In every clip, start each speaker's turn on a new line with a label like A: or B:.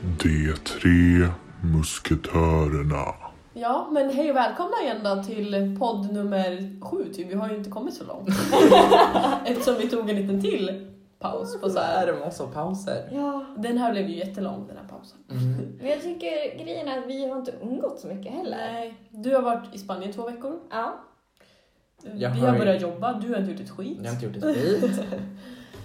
A: De tre musketörerna.
B: Ja, men hej och välkomna igen då till podd nummer sju typ. Vi har ju inte kommit så långt. Eftersom vi tog en liten till paus på så
C: är
B: här.
C: det massa pauser.
D: Ja,
B: Den här blev ju jättelång den här pausen.
C: Mm.
D: men jag tycker grejen är att vi har inte umgått så mycket heller.
B: Nej, du har varit i Spanien två veckor.
D: Ja.
C: Jag
B: vi
C: har
B: har
C: ju-
B: börjat jobba, du har inte gjort ett skit.
C: Jag har inte gjort ett skit.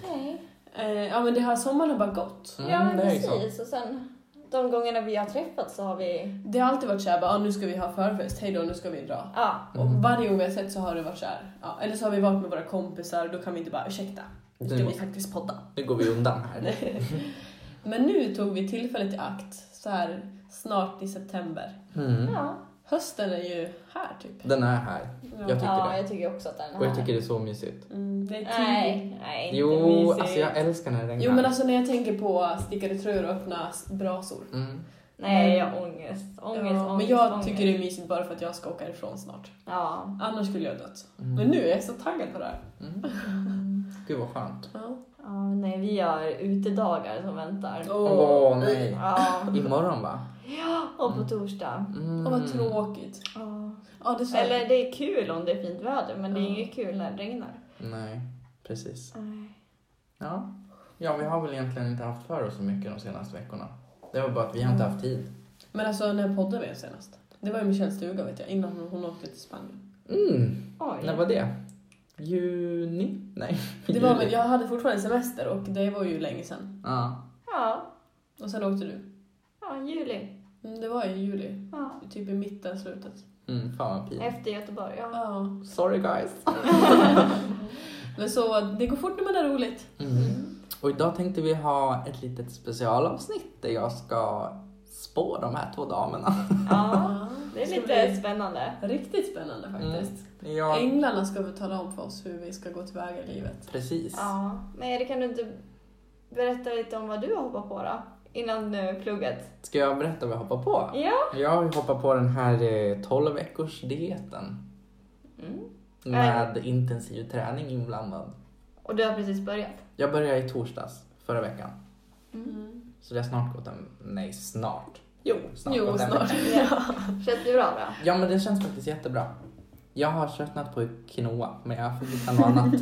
D: Nej.
B: Eh, ja, men det här sommaren har bara gått.
C: Mm,
D: ja, men
C: det är ju så.
D: precis. Och sen de gångerna vi har träffats så har vi...
B: Det har alltid varit så här, bara, ah, nu ska vi ha förfest, hej då, nu ska vi dra.
D: Ja.
C: Mm.
B: Och varje gång vi har sett så har det varit så här, ja, eller så har vi varit med våra kompisar, då kan vi inte bara ursäkta, nu ska
C: Mm.
B: vi faktiskt podda.
C: Nu går vi undan här.
B: Men nu tog vi tillfället i akt så här snart i september.
C: Mm.
D: Ja,
B: Hösten är ju här typ.
C: Den är här.
B: Ja.
C: Jag tycker
D: ja
C: det.
D: jag tycker också att den
C: Och jag
D: här-
C: tycker det är så mysigt.
B: Mm, det är tidigt.
D: Nej, nej, inte
C: Jo,
D: mysigt.
C: alltså jag älskar när det regnar.
B: Jo men alltså när jag tänker på stickade tröjor och öppna s- brasor.
C: Mm.
D: Nej, jag har ångest. Ångest,
B: ja,
D: ångest,
B: men jag
D: ångest.
B: tycker det är mysigt bara för att jag ska åka ifrån snart.
D: Ja.
B: Annars skulle jag dött.
C: Mm.
B: Men nu är jag så taggad på det här.
C: Mm. Gud vad skönt.
B: Ja.
D: ja, men nej, vi har utedagar som väntar.
B: Åh.
C: Åh nej.
D: Ja.
C: Imorgon va?
D: ja, och på torsdag.
C: Mm.
B: Åh, vad tråkigt.
D: Ja.
B: Ja, det är så.
D: Eller det är kul om det är fint väder, men det är
B: Ja.
D: inget kul när det regnar.
C: Nej, precis. Ja. ja, vi har väl egentligen inte haft för oss så mycket de senaste veckorna. Det var bara att vi har
B: Mm.
C: inte haft tid.
B: Men alltså när poddade vi senast? Det var ju Michelles stuga vet jag, innan hon, hon åkte till Spanien.
C: Mm.
D: Oj.
C: När var det? Juni? Nej.
B: Det var,
C: juli.
B: men jag hade fortfarande semester och det var ju länge sedan.
C: Ja.
D: Ja,
B: Och sen åkte du.
D: ja juli.
B: Mm, Det var i juli.
D: Ja.
B: Typ i mitten, slutet.
C: Mm, fan vad pinsamt.
D: Efter Göteborg, ja.
B: Ja.
C: Sorry guys.
B: Men så, det går fort när man har roligt.
C: Mm. Och idag tänkte vi ha ett litet specialavsnitt där jag ska spå de här två damerna.
D: ja. Det är
B: Ska
D: lite
B: bli
D: spännande.
B: Riktigt spännande
C: Mm.
B: faktiskt.
C: Jag...
B: Änglarna ska väl tala om för oss hur vi ska gå tillväga i livet.
C: Precis.
D: Ja. Men Erik, kan du inte berätta lite om vad du har hoppat på då? Innan nu plugget.
C: Ska jag berätta vad jag hoppar på?
D: Ja.
C: Jag hoppar på den här eh, 12 veckors dieten
D: Mm.
C: med intensiv träning inblandad.
D: Och du har precis börjat.
C: Jag började i torsdags förra veckan.
B: Mm.
C: Så det har snart gått en... Nej, snart. Jo, snart.
B: Jo,
C: gått en
B: snart.
C: vecka.
D: Känns det bra då?
C: Ja, men det känns faktiskt jättebra. Jag har tröttnat på quinoa, men jag får hitta något annat.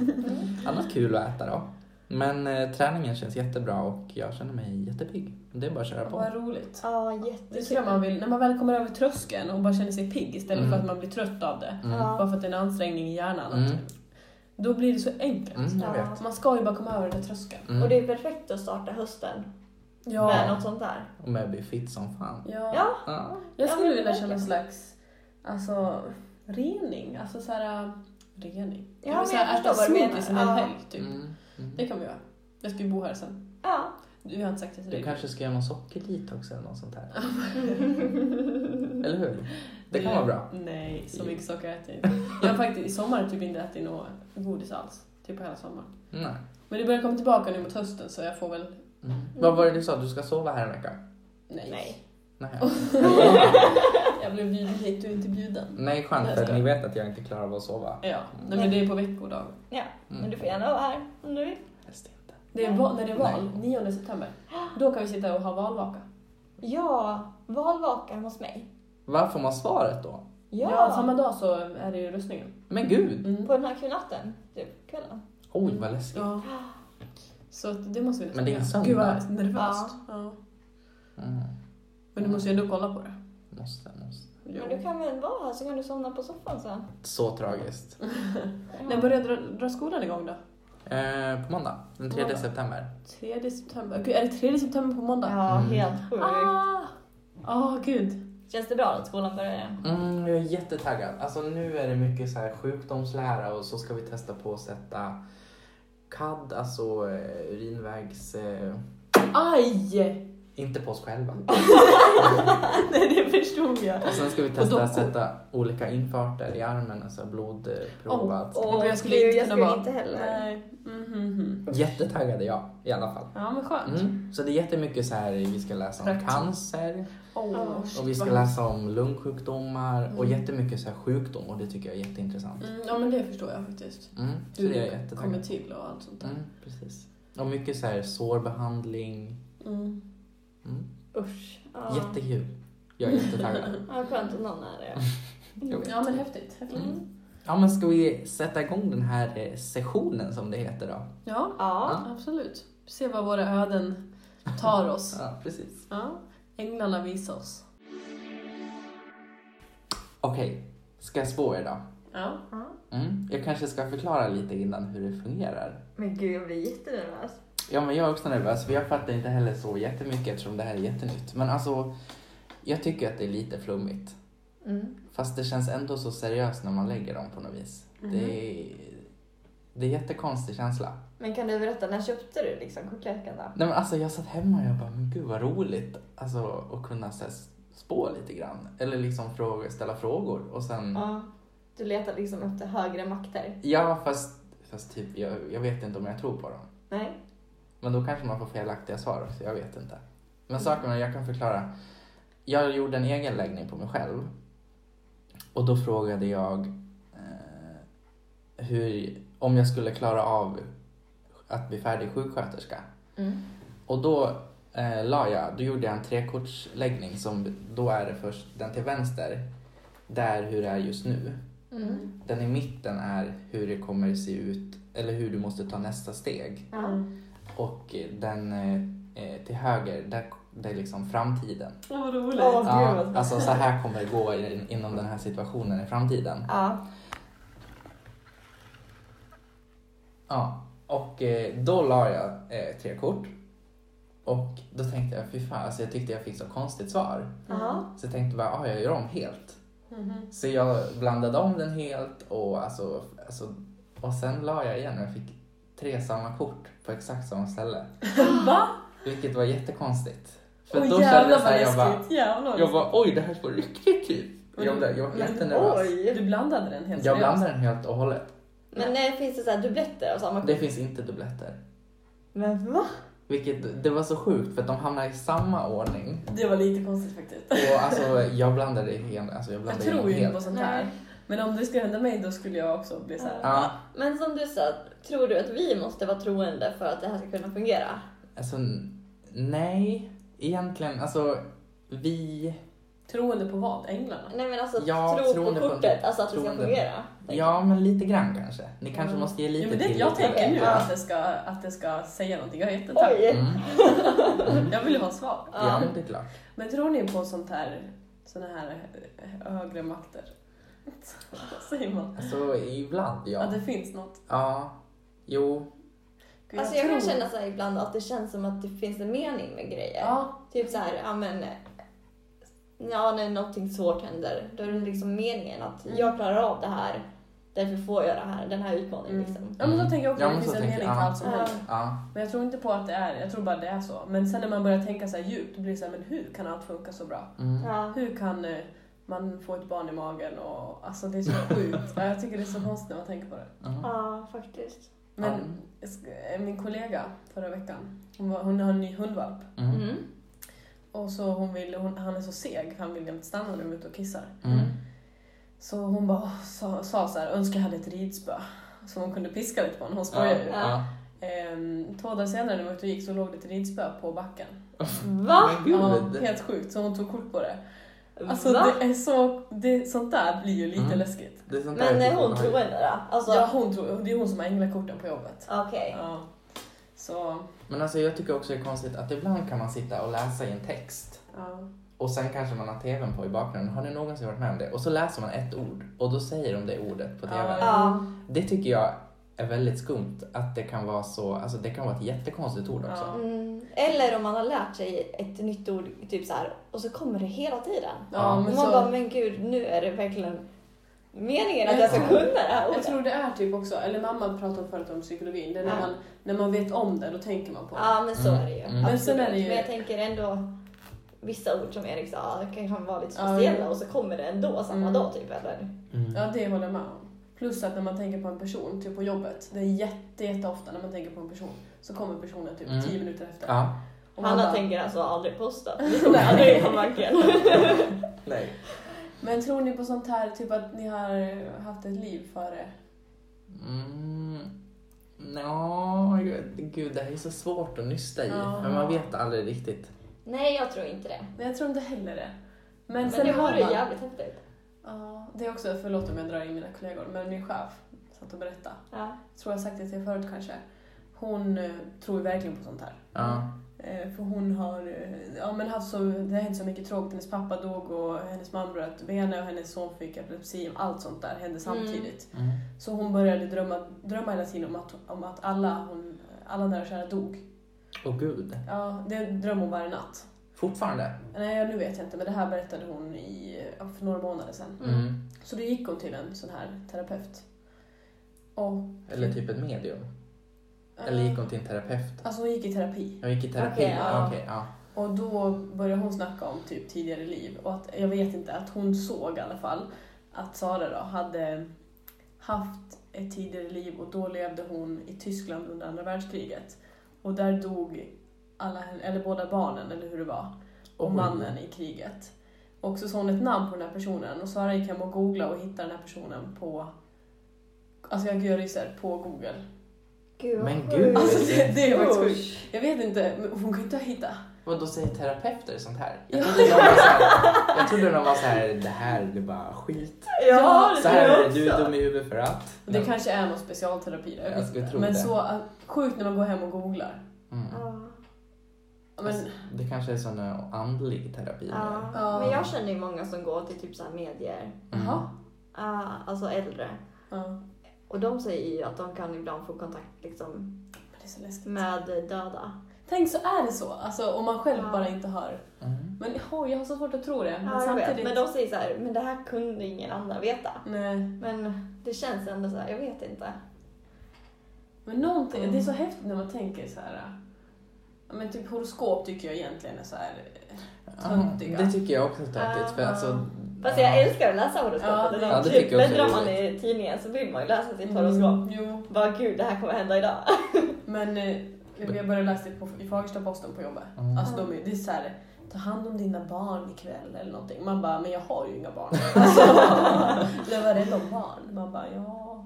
C: annat kul att äta då. Men eh, träningen känns jättebra och jag känner mig jättepigg. Det är bara att köra på. Mm.
B: Vad roligt.
D: Ja,
B: Det
D: jättekul.
B: tror jag man vill, när man väl kommer över tröskeln och bara känner sig pigg istället för
C: Mm.
B: att man blir trött av det.
C: Mm.
D: Ja.
B: Bara för att det är en ansträngning i hjärnan.
C: Mm.
B: Då blir det så enkelt.
C: Mm, jag
D: Ja.
C: vet.
B: Man ska ju bara komma över den där tröskeln.
C: Mm.
D: Och det är perfekt att starta hösten
B: Ja.
D: med något sånt där.
C: Och med blir fit som fan.
B: ja.
D: Ja.
C: Ja.
B: Jag
D: Ja,
B: skulle
D: men
B: vilja
D: verkligen.
B: känna en slags alltså, rening. Alltså så här, äh, rening.
D: Ja, men
B: så
D: jag
B: här,
D: förstår vad du menar.
B: smoothies en hel
D: Ja.
B: helg typ.
C: Mm.
B: Det
C: Mm.
B: kan vi göra. Jag ska ju bo här sen.
D: Ja.
B: Du har inte sagt det till
C: Du
B: dig.
C: kanske ska göra någon sockerdetox eller något sånt här. Eller hur? Det kan vara bra.
D: Mm.
B: Nej, så mycket socker äter jag inte. Jag har faktiskt i sommar typ inte ätit något godis alls. Typ på hela sommaren.
C: Nej.
B: Men det börjar komma tillbaka nu mot hösten så jag får väl...
C: Mm. Vad var det du sa? Du ska sova här en vecka?
B: Nej.
D: Nej.
C: Nej.
D: Oh.
B: Jag blev bjuden hit, du är inte bjuden.
C: Nej, skönt för ni vet att jag inte klarar av att sova.
B: Ja, nej, men det är på veckodag.
D: Ja,
C: Mm.
D: men du får gärna vara här om du vill.
C: Helst Mm. inte.
B: Det är val, när det är val, 9 september. Då kan vi sitta och ha valvaka.
D: Ja, valvaka hemma hos mig.
C: Vad får man svaret då?
D: Ja,
B: Ja. samma dag så är det ju röstningen.
C: Men gud!
B: Mm.
D: på den här kvällnatten, typ kvällen.
C: Oj, vad läskigt.
B: Ja. Så att det måste vi nästan
C: Men det är en
B: göra.
C: söndag.
B: Gud vad nervöst. Ja.
C: Mm.
B: Men du måste ju ändå kolla på det.
C: Måste, måste.
B: Jo.
D: Men du kan väl vara här så kan du somna på soffan sen.
C: Så tragiskt.
B: När börjar dra, dra skolan igång då?
C: Eh, på måndag, den 3
B: Måndag.
C: september.
B: 3 september. Gud, är det 3 september på måndag?
D: Ja,
C: Mm.
D: helt sjukt.
B: Ah! Ah, gud.
D: Känns det bra att skolan börjar igen?
C: Mm, jag är jättetaggad. Alltså nu är det mycket så här sjukdomslära och så ska vi testa på att sätta CAD, alltså eh, urinvägs... Eh,
B: Aj!
C: inte på oss själva.
B: Nej, det förstod jag.
C: Och sen ska vi
B: Och
C: testa
B: då-
C: att sätta olika infarter i armen, alltså blodprov.
B: Oh.
C: allt.
B: Men
D: Åh,
B: jag skulle
D: gud,
B: inte
D: jag
B: kunna
D: skulle
B: vara-
D: inte heller.
B: Nej. Mhm.
C: Jättetaggad är jag i alla fall.
B: Ja, men skönt.
C: Mm. Så det är jättemycket så här, vi ska läsa om
B: Praktik.
C: cancer.
B: Oh,
D: Ja.
B: shit,
C: Och vi ska
B: vad-
C: läsa om lungsjukdomar och
B: Mm.
C: jättemycket så här sjukdom och det tycker jag är jätteintressant.
B: Mm, ja, men det förstår jag faktiskt.
C: Mm. Så det är
B: Hur
C: jag
B: det kommer
C: jättetaggad.
B: till och allt sånt där.
C: Mm, precis. Och mycket så här sårbehandling.
B: Mm.
C: Mm.
D: Usch. Ja.
C: Jättekul. Jag är jättetaggad.
D: Ja, skönt att någon är det.
C: Jag vet.
B: Ja men häftigt. häftigt.
D: Mm.
C: Ja men ska vi sätta igång den här eh, sessionen som det heter då?
B: Ja,
D: Ja.
B: absolut. Se vad våra öden tar oss.
C: Ja, precis.
B: Ja. Änglarna visar oss.
C: Okej, ska jag spå er då?
B: Ja.
C: Mm. Jag kanske ska förklara lite innan hur det fungerar.
D: Men gud, jag blir jättenervös.
C: Ja, men jag är också nervös för jag fattar inte heller så jättemycket eftersom det här är jättenytt. Men alltså, jag tycker att det är lite flummigt.
D: Mm.
C: Fast det känns ändå så seriöst när man lägger dem på något vis.
B: Mhm.
C: Det, är, det är jättekonstig känsla.
D: Men kan du berätta, när köpte du liksom chokladkaka?
C: Nej, men alltså, jag satt hemma och jag bara, men gud vad roligt alltså, att kunna så här, spå lite grann. Eller liksom fråga, ställa frågor. Och sen,
D: Ja. Du letar liksom efter högre makter?
C: ja fast, fast typ, jag, jag vet inte om jag tror på dem.
D: Nej?
C: Men då kanske man får felaktiga svar också, jag vet inte. Men sakerna jag kan förklara. Jag gjorde en egen läggning på mig själv. Och då frågade jag eh, hur, om jag skulle klara av att bli färdig sjuksköterska.
D: Mm.
C: Och då eh, la jag, då gjorde jag en trekortsläggning som då är det först den till vänster, där hur det är just nu.
D: Mm.
C: Den i mitten är hur det kommer se ut, eller hur du måste ta nästa steg.
D: Ja.
B: Mm.
C: Och den eh, eh, till höger, där, där är liksom framtiden.
B: Åh, vad roligt.
D: Ja. Åh, gud, vad
C: Ja,
D: spännande.
C: alltså så här kommer det gå i- inom den här situationen i framtiden.
D: Ja.
C: Ja, och eh, då la jag eh, tre kort. Och då tänkte jag, fy fan, alltså jag tyckte jag fick så konstigt svar.
D: Ja.
C: Så jag tänkte bara, ah, jag gör om helt.
B: Mhm.
C: Så jag blandade om den helt och alltså, alltså och sen la jag igen och jag fick tre samma kort på exakt samma ställe.
D: Mm-hmm.
B: Va?
C: Vilket var jättekonstigt. För
B: Åh
C: då
B: jävlar
C: kände jag
B: vad
C: så här, jag
B: läskigt.
C: bara,
B: Jävlar.
C: Jag bara oj det här är på riktigt typ. Jag, blev- jag var jättenervös.
B: Du blandade den helt
C: Jag
B: seriöst.
C: blandade den helt och hållet.
D: Men nej, finns det så här dubbletter av samma
C: Det finns inte dubbletter.
D: Men va?
C: Vilket, det var så sjukt för att de hamnar i samma ordning.
B: Det var lite konstigt faktiskt.
C: Och alltså jag blandade igen, alltså jag
B: Jag
C: blandade
B: tror ju
C: igen
B: inte på
C: helt.
B: sånt här. Men om det skulle hända mig då skulle jag också bli så här.
C: Ja,
D: Men som du sa, tror du att vi måste vara troende för att det här ska kunna fungera?
C: alltså n- nej. Egentligen, alltså vi...
B: Troende på vad? Änglarna?
D: Nej men alltså
C: Ja,
D: tro på
C: troende på-
D: kortet, alltså att det ska
C: troende.
D: fungera.
C: Ja, men lite grann kanske. Ni kanske
D: Mm.
C: måste ge
B: Ja,
C: lite
B: men det,
C: till.
B: jag tänker nu alltså.
D: Ja.
B: att det, ska, att det ska säga någonting. Jag är jättetaggad. Mm.
D: Oj!
C: Mm.
B: Jag vill ha svar.
C: Ja,
D: Ja.
C: men det är klart.
B: Men tror ni på sånt här, såna här högre makter? Vad säger man?
C: Alltså ibland
B: Att
C: ja.
B: det finns något?
C: Ja, jo.
B: Gud,
D: Alltså jag kan
B: tror-
D: känna så här ibland att det känns som att det finns en mening med grejer.
B: Ja,
D: Typ så här, ja men... Ja, när någonting svårt händer, då är det liksom meningen att
B: Mm.
D: jag klarar av det här, därför får jag det här, den här utmaningen
B: Mm.
D: liksom.
B: ja men då tänker jag också
C: Ja,
B: att det
C: men så
B: finns en
C: tänker
B: mening
C: jag.
B: till
C: Ja.
B: allt som
D: Ja.
B: händer.
C: Ja,
B: Men jag tror inte på att det är, jag tror bara att det är så. Men sen när man börjar tänka så här djupt, då blir det så här, men hur kan allt funka så bra?
C: mm.
D: Ja.
B: Hur kan eh, man få ett barn i magen? Och, alltså det är så sjukt. Ja, Jag tycker det är så konstigt när man tänker på det.
C: Mm.
D: ja, faktiskt.
B: Men
C: Mm.
B: sk- eh, min kollega förra veckan, hon, var, hon har en ny hundvalp.
C: Mm.
D: Mm.
B: Och så hon vill, hon, han är så seg, för han vill jämt stanna när de är ute och kissar.
C: Mm.
B: Så hon bara åh, sa, sa så här, önskar jag hade ett ridspö. Så hon kunde piska lite på honom, hon skojar ju.
D: Ja.
B: Ehm, två dagar senare när vi var ute och gick så låg det ett ridspö på backen.
D: Mm. Va?
C: Men
B: Ja,
C: gud!
B: helt sjukt, så hon tog kort på det. Alltså
D: Va?
B: det är så, det, sånt där blir ju lite
C: Mm.
B: läskigt.
C: Det är sånt där
D: Men är
C: typ
D: hon
C: man-
D: troende då? Alltså,
B: Ja, hon tror, det är hon som har änglakorten på jobbet.
D: okej.
B: Ja. Så,
C: Men alltså jag tycker också det är konstigt att ibland kan man sitta och läsa i en text
B: ja.
C: och sen kanske man har tvn på i bakgrunden. Har ni någonsin varit med om det? Och så läser man ett ord och då säger de det ordet på tvn.
B: Ja.
D: Ja.
C: Det tycker jag är väldigt skumt att det kan vara så, alltså det kan vara ett jättekonstigt ord också.
B: Ja.
D: Mm. Eller om man har lärt sig ett nytt ord, typ så här, och så kommer det hela tiden.
B: Ja,
D: Och
B: men
D: man
B: så,
D: bara, men gud, nu är det verkligen meningen att jag ska
B: Ja.
D: kunna det här
B: Jag
D: ordet.
B: tror det är typ också, eller mamma pratade förut om psykologin, det är när,
D: Ja.
B: man, när man vet om det, då tänker man på det.
D: Ja, men så är det ju.
C: Mm. Mm.
B: Men sen är det
D: Absolut.
B: ju-
D: Men jag tänker ändå, vissa ord som Erik sa kan kan vara lite
B: Ja,
D: speciella
B: jo.
D: och så kommer det ändå samma
B: Mm.
D: dag typ, eller?
C: Mm.
B: Ja, det håller jag med om. Plus att när man tänker på en person, typ på jobbet, det är jätte, jätteofta när man tänker på en person så kommer personen typ
C: Mm.
B: tio minuter efter.
C: Ja.
B: Och man
D: Hanna
B: bara-
D: tänker alltså aldrig posta, för vi kommer aldrig på macken.
C: Nej.
B: Men tror ni på sånt här, typ att ni har haft ett liv före?
C: Mm. Nå, gud det här är så svårt att nysta i.
B: Ja.
C: Men man vet aldrig riktigt.
D: Nej, jag tror inte det.
B: Nej, jag tror inte heller det. Men,
D: Men,
B: sen
D: det
B: har
D: vore
B: man...
D: jävligt häftigt.
B: Ja, det är också, förlåt om jag drar in mina kollegor, men min chef satt och berättade.
D: Ja.
B: Tror jag sagt det till er förut kanske. Hon eh, tror ju verkligen på sånt här.
C: Ja.
B: Eh, För hon har eh, ja, men haft så, det har hänt så mycket tråkigt. Hennes pappa dog och hennes mamma bröt benet och hennes son fick epilepsi. Allt sånt där hände samtidigt.
C: Mm.
B: Så hon började drömma, drömma hela tiden om att, om att alla, hon, alla nära och kära dog.
C: Och gud.
B: Ja, det drömmer hon varje natt.
C: Fortfarande?
B: Nej, nu vet jag inte, men det här berättade hon i, ja, för några månader sedan.
D: Mm.
C: Mm.
B: Så då gick hon till en sån här terapeut. Och,
C: Eller typ ett medium? Eller gick hon till en terapeut?
B: Alltså hon gick i terapi.
C: Jag gick i terapi.
D: Okej,
B: ja.
C: ja. okej, ja.
B: Och då började hon snacka om typ tidigare liv och att, jag vet inte, att hon såg i alla fall att Sara då hade haft ett tidigare liv och då levde hon i Tyskland under andra världskriget. Och där dog alla, hen- eller båda barnen, eller hur det var, och
C: Oj.
B: mannen i kriget. Och så sa hon ett namn på den här personen och Sara gick hem och googlade och hittade den här personen på, alltså jag gör research på google.
D: Gud vad
C: Men
D: sjukt.
C: gud.
B: Alltså det, det är faktiskt
D: Usch.
B: sjukt. Jag vet inte, men hon kan inte ha hittat
C: Vad då säger terapeuter sånt här? Jag trodde de var så här, jag trodde de var så här det här är bara skit.
B: Ja,
C: Så här är det, du är dum i huvudet för att.
B: Det
C: Men-
B: kanske är någon specialterapi där, jag
C: Jag
B: vet
C: skulle
B: inte.
C: tro
B: Men
C: det.
B: så att- sjukt när man går hem och googlar.
C: mm.
D: Ja.
B: Men,
C: Det kanske är sån eh, andlig terapi.
D: Ja.
B: Ja.
D: Men jag känner ju många som går till typ så här medier,
C: Mm.
B: jaha.
D: Ja, alltså äldre.
B: Ja. Men
D: Och de säger ju att de kan ibland få kontakt liksom,
B: det är så läskigt.
D: med döda.
B: Tänk så är det så, alltså om man själv
D: Ja.
B: bara inte hör.
C: Mm.
B: Men oh, jag har så svårt att tro det. Men
D: Ja, jag vet.
B: samtidigt...
D: Men de säger så här, men det här kunde ingen annan veta.
B: Nej.
D: Men det känns ändå så här, jag vet inte.
B: Men någonting,
D: Mm.
B: det är så häftigt när man tänker så här. äh, ja, Men typ horoskop tycker jag egentligen är så här. äh,
C: Ja,
B: Töntiga.
C: det tycker jag också är töntigt. För
D: Ja.
C: alltså,
D: Ah. Fast
C: ja.
D: jag älskar att läsa horoskopet.
B: Ja,
C: det
D: det
C: tycker jag också är
D: bläddrar man i tidningen så vill man ju läsa sitt
B: Mm,
D: horoskop.
B: Jo,
D: Bara gud, det här kommer hända idag.
B: men eh, jag började läsa det på, i Fagersta-Posten på jobbet.
C: Mm.
B: Alltså de är, det är så här, ta hand om dina barn ikväll eller någonting. Man bara, men jag har ju inga barn. Alltså, jag var rädd om barn. Man bara, ja.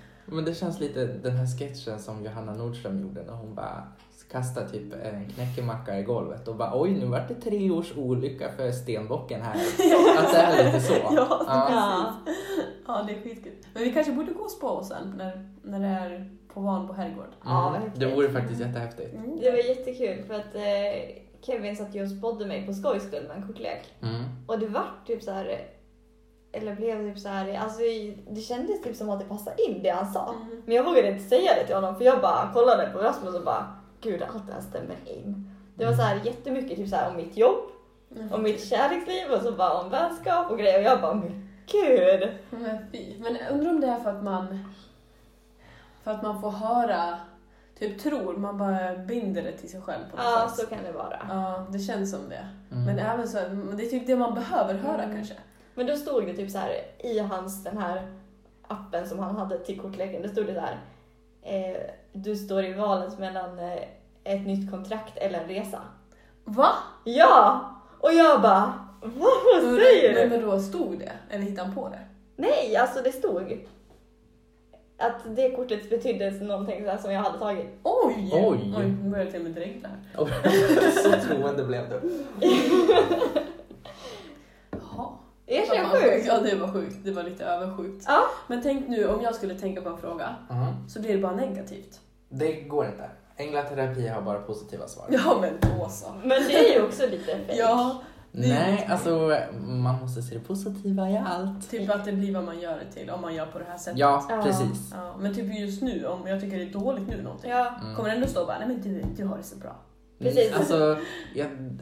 C: Men det känns lite den här sketchen som Johanna Nordström gjorde när hon bara kastade typ en knäckemacka i golvet och bara oj nu vart det tre års olycka för stenbocken här. Att det är lite så. Mm.
B: Ja,
D: Ja.
B: precis. Ja, det är skitkul. Men vi kanske borde gå och spå oss sen när, när det är på van på herrgård.
D: Ja, vad
C: Mm.
D: häftigt.
C: Det vore faktiskt jättehäftigt.
B: Mm.
D: Det var jättekul för att eh, Kevin satt ju och spådde mig på skojs skull med en kortlek.
C: Mm.
D: Och det vart typ så här eller blev typ så här, alltså det kändes typ som att det passade in det han sa.
B: Mm.
D: Men jag vågade inte säga det till honom för jag bara kollade på Rasmus och bara gud allt det här stämmer in. Det var så här jättemycket typ så här om mitt jobb, om mitt kärleksliv och så bara om vänskap och grejer och jag bara men gud.
B: Men fy. Men undrar om det är för att man för att man får höra, typ tror, man bara binder det till sig själv på något
D: Ja
B: sätt.
D: så kan det vara.
B: Ja, det känns som det.
C: Mm.
B: Men även så, det är typ det man behöver höra
D: Mm.
B: kanske.
D: Men då stod det typ så här i hans den här appen som han hade till kortleken. Då stod det där. Eh, du står i valet mellan eh, ett nytt kontrakt eller en resa.
B: Va?
D: Ja! Och jag bara. "Va? Vad säger
B: men,
D: du?
B: men då stod det? Eller hittade han på det?
D: Nej, alltså det stod. Att det kortet betydde någonting så här som jag hade tagit.
B: Oj!
C: Oj.
B: Oj nu börjar jag till och med dregla här.
C: Och- så troende blev du.
B: Jaha.
D: Det är så
B: Fan, vad
D: sjukt.
B: Ja, det var sjukt. Det var lite översjukt.
D: Ja.
B: Men tänk nu om jag skulle tänka på en fråga
C: Mm.
B: så blir det bara negativt.
C: Det går inte. Änglaterapi har bara positiva svar.
B: Ja, men då så.
D: Men det är ju också lite fake.
B: Ja,
C: Nej, alltså man måste se det positiva i allt.
B: typ att det blir vad man gör det till om man gör på det här sättet.
C: Ja,
D: Ja.
C: precis.
B: Ja, men typ just nu, om jag tycker det är dåligt nu någonting.
D: Ja.
C: Mm.
B: Kommer det ändå stå bara, nej men du, du har det så bra.
D: Precis.
C: Alltså, jag...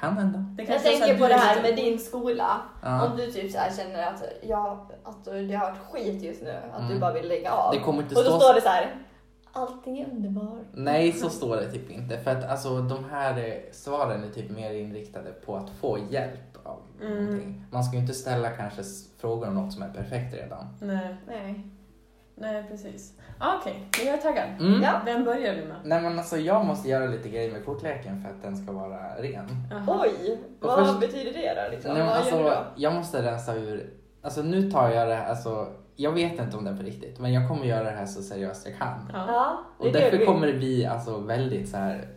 C: kan hända.
B: Det
D: Jag
B: är så
D: tänker
B: du liksom-
D: på det
B: är
D: här
B: lite-
D: med din skola.
C: Ja.
D: Om du typ så här känner att, ja, att du, det har varit skit just nu, att
C: Mm.
D: du bara vill lägga av.
C: Det kommer inte
D: och då
C: stå
D: står det så här, allting är underbart.
C: Nej, så står det typ inte. För att alltså, de här eh, svaren är typ mer inriktade på att få hjälp av
B: Mm.
C: någonting. Man ska ju inte ställa kanske s- frågor om något som är perfekt redan.
B: Nej,
D: Nej.
B: nej precis. Ah, Okej, men jag är taggad.
C: Mm.
D: Ja.
B: Vem börjar vi med?
C: Nej men alltså jag måste göra lite grejer med kortleken för att den ska vara ren.
B: Jaha.
D: Oj,
C: Och
D: vad
C: först-
D: betyder det då? Liksom?
C: Nej, men
D: vad gör du
C: alltså,
D: då?
C: jag måste rensa ur, alltså nu tar jag det, alltså jag vet inte om det är på riktigt men jag kommer göra det här så seriöst jag kan.
B: Ja.
D: Ja, det
C: Och
D: är det du
C: därför
D: vill.
C: kommer det bli alltså väldigt så här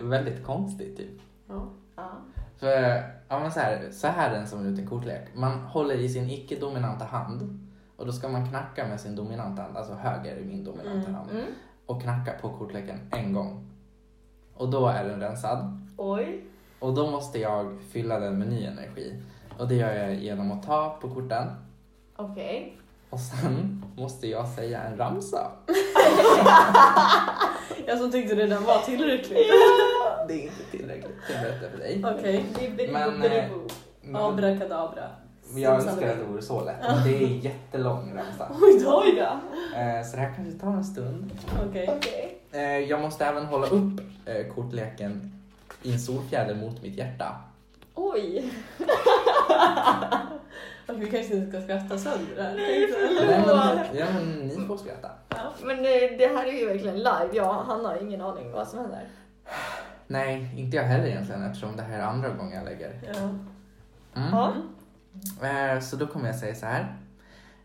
C: väldigt konstigt typ.
B: Ja.
D: Ja.
C: För, ja men så här, så här är en som ut en kortlek. Man håller i sin icke-dominanta hand och då ska man knacka med sin dominanta hand, alltså höger i min dominanta hand,
D: Mm.
C: och knacka på kortleken en gång. Och då är den rensad.
D: Oj.
C: Och då måste jag fylla den med ny energi. Och det gör jag genom att ta på korten
D: Okej.
C: och sen måste jag säga en ramsa.
B: Jag som tyckte det där var tillräckligt.
C: Det är inte tillräckligt, jag berättar för dig.
B: Okej.
C: Men, eh,
D: Bibbidi-bobbidi-boo. Mm.
C: Men
B: Abrakadabra.
C: jag önskar att det vore så lätt. Men det är en jättelång ramsa.
B: Oj då.
D: Oj då.
C: Eh, Så det här kanske tar en stund.
B: Okej.
D: Okej.
C: Eh, Jag måste även hålla upp eh, kortleken i en solfjäder mot mitt hjärta.
D: Oj.
B: Och vi kanske inte ska skratta sönder det här.
C: Nej, men, ja, men ni får skratta.
D: Men eh, det här är ju verkligen live. Jag, han har ingen aning vad som händer.
C: Nej, inte jag heller egentligen eftersom det här är andra gången jag lägger.
B: Ja.
C: Mm.
D: Ja.
C: Eh, Så då kommer jag säga så här.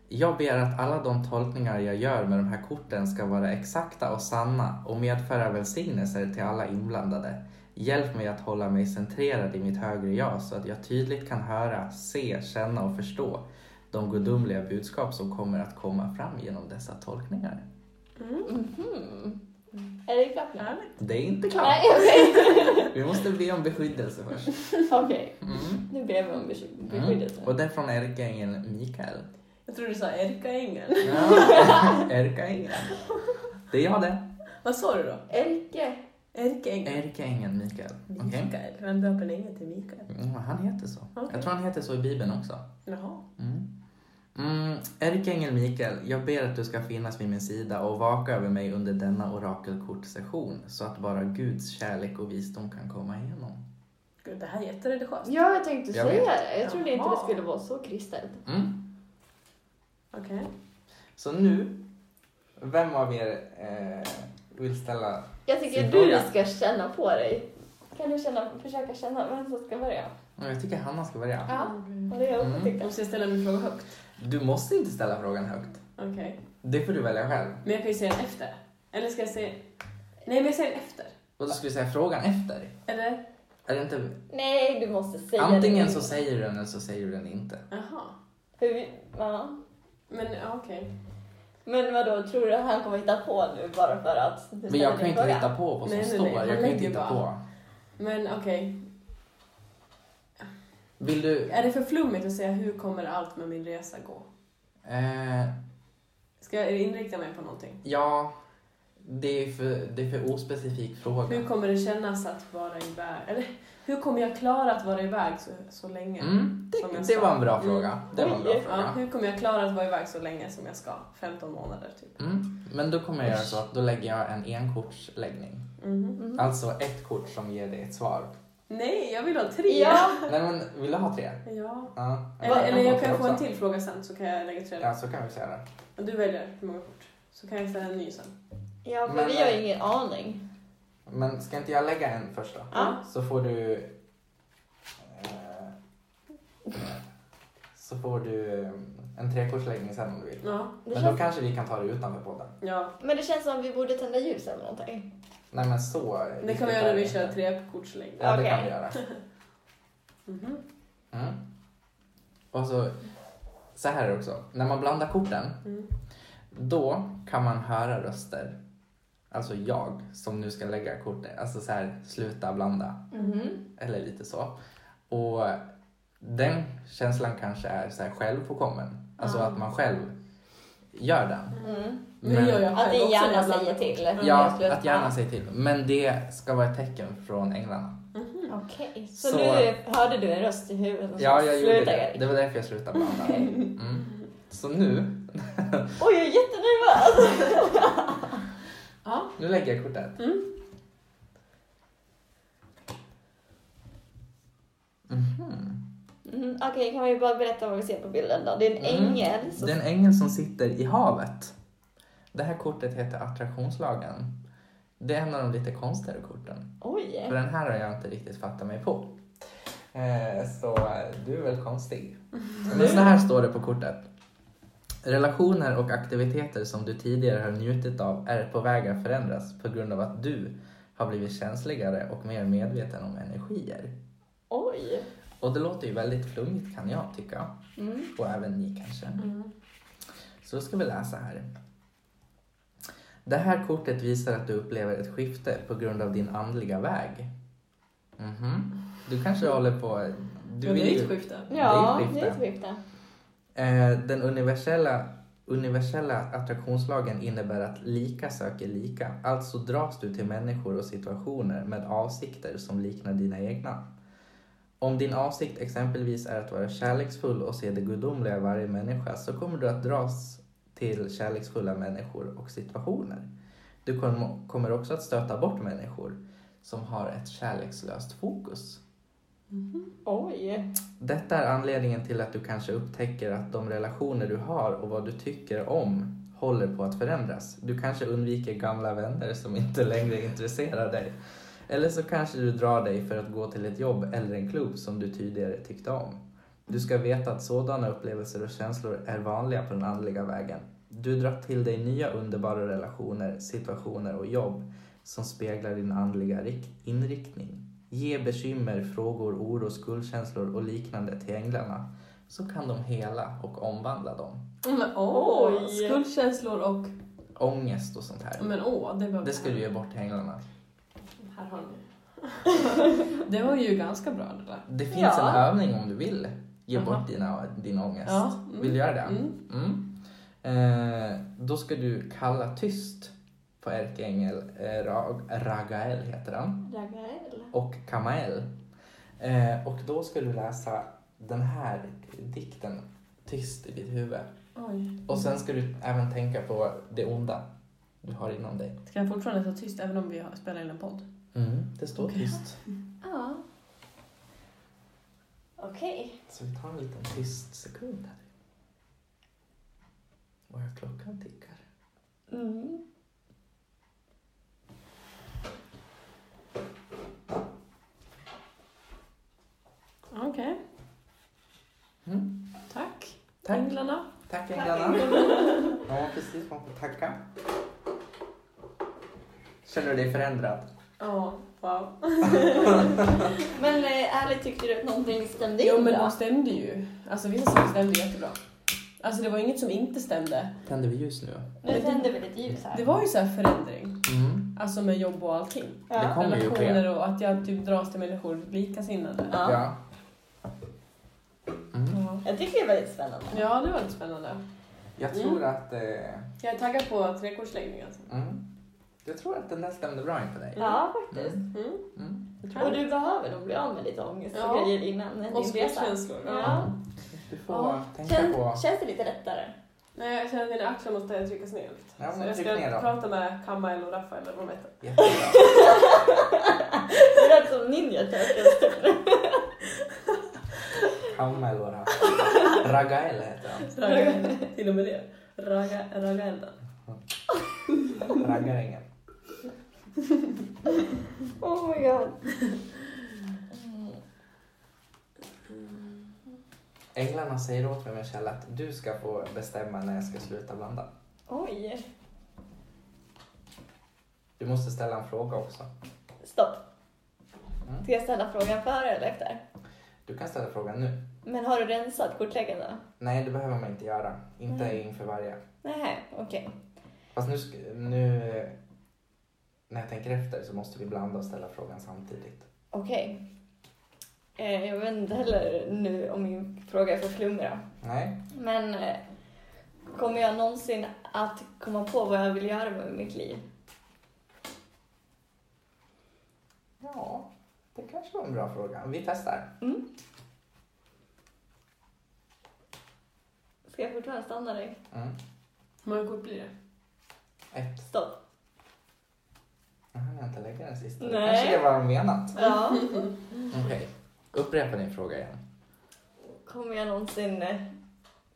C: Jag ber att alla de tolkningar jag gör med de här korten ska vara exakta och sanna och medföra välsignelser till alla inblandade. Hjälp mig att hålla mig centrerad i mitt högre jag så att jag tydligt kan höra, se, känna och förstå de gudomliga budskap som kommer att komma fram genom dessa tolkningar.
D: Mhm. Är det klart nu?
B: Härligt.
C: Det är inte klart.
D: Nej, okej.
C: Vi måste be om beskyddelse först.
D: Okej.
C: Mm.
D: Nu ber vi om besky-
C: Mm.
D: beskyddelse.
C: Och det är från Erkeängeln Mikael.
B: Jag tror du sa Erika Engen.
C: Ja, Erkeängeln. Det är jag det.
B: Vad sa du då?
D: Erke.
B: Erika Engen?
C: Erkeängeln Mikael. Okej.
B: Mikael. Vem döper en ängel till Mikael?
C: Mm, han heter så.
B: Okej.
C: Jag tror han heter så i Bibeln också.
B: Jaha.
C: Mm. Mm, Erkeängel Mikael, jag ber att du ska finnas vid min sida och vaka över mig under denna orakelkortsession så att bara Guds kärlek och visdom kan komma igenom.
B: Gud, det här är jättereligiöst.
D: Ja, jag tänkte
C: Jag
D: säga
C: vet.
D: det. Jag trodde inte
B: Jaha.
D: det skulle vara så kristet.
C: Mm.
B: Okej.
C: Så nu, vem av er eh, vill ställa?
D: Jag tycker
C: Sin
D: du
C: fråga.
D: ska känna på dig. Kan du känna, försöka känna vem som ska börja?
C: Mm, Jag tycker Hanna ska börja.
D: Ja, och det är jag också
C: Mm.
D: tycker.
B: Måste jag ställa min fråga högt?
C: Du måste inte ställa frågan högt.
B: Okej.
C: Det får du välja själv.
B: Men jag kan ju säga den efter. Eller ska jag säga... Nej, men jag säger den efter.
C: Och då ska du säga frågan efter.
B: Eller?
C: Är det inte...
D: Nej, du måste säga
C: Antingen
D: det.
C: så säger du den eller så säger du den inte.
B: Jaha.
D: Hur, vi- ja.
B: Men ja, okej.
D: Men vadå, tror du att han kommer hitta på nu bara för att du
C: Men
D: ställer
C: jag kan
D: din
C: ju inte
D: fråga?
C: hitta på vad som
B: Nej, nej,
C: står.
B: nej. Man
C: Jag kan ju inte
B: lägger
C: hitta på.
B: bara. Men okej.
C: Vill du...
B: Är det för flummigt att säga hur kommer allt med min resa gå?
C: Eh,
B: Ska jag inrikta mig på någonting?
C: ja, det är för, det är för ospecifik
B: Hur
C: fråga.
B: kommer det kännas att vara iväg? Eller hur kommer jag klara att vara iväg så, så länge?
C: Mm,
B: Som jag
C: det, det
B: sa.
C: var en bra
B: Mm.
C: fråga. Det var en bra
D: Oj.
B: Ja,
C: fråga.
B: hur kommer jag klara att vara iväg så länge som jag ska? 15 månader typ.
C: Mm, men då kommer jag göra så att då lägger jag en enkortsläggning.
B: Mhm.
D: Mhm.
C: Alltså ett kort som ger dig ett svar.
B: Nej, jag vill ha tre!
D: Ja,
C: Nej men, vill du ha tre?
B: Ja.
C: Ja.
B: Eller, eller jag kan få en
C: också.
B: till fråga sen så kan jag lägga till
C: Ja,
B: den.
C: så kan vi säga det.
B: Du väljer hur många kort. Så kan jag ställa en ny sen.
D: ja för
C: Men,
D: vi har
C: eh,
D: ingen aning.
C: Men ska inte jag lägga en först då?
D: Ja.
C: Så får du... eh, Så får du eh, en trekortsläggning sen om du vill.
B: Ja.
D: Det
C: Men då
D: känns,
C: kanske vi kan ta det utanför podden.
B: ja.
D: men det känns som vi borde tända ljus eller någonting.
C: Nej men så...
B: Det kan vi göra när vi kör trekortslängd.
C: Ja, det
D: Okej.
C: kan vi göra.
B: Mhm.
C: Mm. Och så... Så här är det också. När man blandar korten,
B: Mm.
C: då kan man höra röster. Alltså jag som nu ska lägga korten. Alltså så här, sluta blanda.
D: Mhm.
C: eller lite så. Och den känslan kanske är så här självpåkommen. Alltså
D: Ja.
C: att man själv gör den.
D: Mm.
B: Det gör jag
D: Att
B: själv
D: din
B: också
D: hjärna
B: ibland.
D: säger till. Mm.
C: Ja,
D: Helt plötsligt.
C: att hjärnan säger till. Men det ska vara ett tecken från änglarna.
B: Mhm.
D: Okej, Mm. så,
C: Så-
D: nu hörde du en röst i huvudet som
C: Ja,
D: sa,
C: jag gjorde
D: "Sluta,
C: det.
D: Erik."
C: Det var därför jag slutade blanda. Mm. Så nu,
D: Oj, jag är jättenervös!
B: Ja.
C: nu lägger jag kortet.
B: Mm.
C: Mhm.
D: Mm, Okej, kan vi bara berätta vad vi ser på bilden då? Det är en
C: Mm.
D: ängel. som-
C: Det är en ängel som sitter i havet. Det här kortet heter attraktionslagen. Det är en av de lite konstigare korten.
D: Oj!
C: För den här har jag inte riktigt fattat mig på. Eh, Så eh, du är väl konstig. Men så här står det på kortet. Relationer och aktiviteter som du tidigare har njutit av är på väg att förändras på grund av att du har blivit känsligare och mer medveten om energier.
D: Oj!
C: Och det låter ju väldigt flummigt kan jag tycka,
D: Mm.
C: och även ni kanske.
B: Mm.
C: Så ska vi läsa här. Det här kortet visar att du upplever ett skifte på grund av din andliga väg. Mhm. Du kanske håller på... Du
B: Men det
C: vill
B: är ett
C: ju-
B: skifte.
D: Ja,
C: Det är ett skifte.
D: det är ett skifte.
C: Eh, Den universella, universella attraktionslagen innebär att lika söker lika. Alltså dras du till människor och situationer med avsikter som liknar dina egna. Om din avsikt exempelvis är att vara kärleksfull och se det gudomliga i varje människa så kommer du att dras till kärleksfulla människor och situationer. Du kom- kommer också att stöta bort människor som har ett kärlekslöst fokus.
D: Oj!
C: Detta är anledningen till att du kanske upptäcker att de relationer du har och vad du tycker om håller på att förändras. Du kanske undviker gamla vänner som inte längre intresserar dig. Eller så kanske du drar dig för att gå till ett jobb eller en klubb som du tidigare tyckte om. Du ska veta att sådana upplevelser och känslor är vanliga på den andliga vägen. Du drar till dig nya underbara relationer, situationer och jobb som speglar din andliga rikt- inriktning. Ge bekymmer, frågor, oro, skuldkänslor och liknande till änglarna så kan de hela och omvandla dem.
B: Men åh,
D: Oj.
B: skuldkänslor och...
C: Ångest och sånt här.
B: Men åh, det var...
C: Det ska du ge bort till änglarna.
B: Här har ni. det var ju ganska bra det där.
C: Det finns
D: Ja.
C: en övning om du vill ge
B: Aha.
C: bort dina, din ångest.
B: Ja, mm.
C: Vill du göra det?
B: Mm.
C: Mm. Eh, då ska du kalla tyst på ärkeängel eh, Rag, Ragael heter han
D: Ragael.
C: och Kamael. Eh, och då ska du läsa den här dikten tyst i ditt huvud.
B: Oj.
C: Och sen ska du även tänka på det onda du har inom dig.
B: Ska jag fortfarande vara tyst även om vi har- spelar in en podd?
C: Mm, det står
B: Okej.
C: tyst.
D: Ja. Okej.
C: Så vi tar en liten tyst sekund här. Våra klockan tickar.
D: Mm.
B: Okej,
C: Mm.
B: tack.
C: Tack.
B: Änglarna.
C: Tack änglarna. Ja, precis. Man får tacka. Känner du dig förändrad?
B: Ja, wow.
D: Men eh, ärligt, tyckte du att någonting stämde in
B: Jo men
D: då?
B: de stämde ju. Alltså vissa saker stämde jättebra. Alltså det var inget som inte stämde.
C: Tänder vi ljus nu?
D: Nu tände vi lite ljus här.
B: Det var ju så här förändring.
C: Mm.
B: Alltså med jobb och allting.
C: Det
D: ja.
C: kommer ju ske.
B: Relationer och att jag typ dras till människor likasinnade.
D: Ja.
C: Mm.
B: Ja.
D: Jag tycker det är väldigt spännande.
B: Ja, det var lite spännande.
C: Jag tror att... Eh,
B: Jag är taggad på trekortsläggning alltså.
C: mm. Jag tror att den där stämde bra in på dig.
D: Ja, faktiskt.
C: Mm.
B: Mm.
C: Mm.
B: det tror jag.
D: Och du behöver nog bli av med lite ångest
B: Ja.
D: och grejer innan din
B: Och
D: resa.
B: skuldkänslor.
D: Ja.
C: Du får
B: Ja,
C: tänka
D: Känns,
C: på...
D: känns det lite lättare?
B: Nej, jag känner att mina axlar måste tryckas ner lite.
C: Ja, men
B: så jag
C: tryck
B: ska
C: ner då.
B: prata med Kamael och Rafael eller vad de heter.
C: Jättebra.
D: Du lät som ninja turtles.
C: Kammel och Rafa. Ragael heter han.
B: Ragga, till och med det. Ragga, ragga elden.
C: Raggarängen.
D: Oh my god. Mm.
C: Änglarna säger åt mig Michelle att du ska få bestämma när jag ska sluta blanda.
D: Oj.
C: Du måste ställa en fråga också.
D: Stopp.
C: Mm.
D: Ska jag ställa frågan före eller efter?
C: Du kan ställa frågan nu.
D: Men har du rensat kortleken då?
C: Nej, det behöver man inte göra. Inte
D: Nej.
C: inför varje.
D: Nej, okej.
C: Fast nu, sk- nu eh, när jag tänker efter så måste vi blanda och ställa frågan samtidigt.
D: Okej. Eh, jag vet inte heller nu om min fråga är för flummig då.
C: Nej,
D: Men eh, kommer jag någonsin att komma på vad jag vill göra med mitt liv?
C: ja, det kanske var en bra fråga. Vi testar.
D: Mm. Ska jag fortfarande stanna dig?
C: Mm.
B: Hur många kort blir det?
C: Ett.
D: Stopp.
C: Jag hann inte lägga den sista. Det
D: Nej.
C: kanske är vad de menat.
D: Ja.
C: Okej, upprepa din fråga igen.
D: Kommer jag någonsin eh,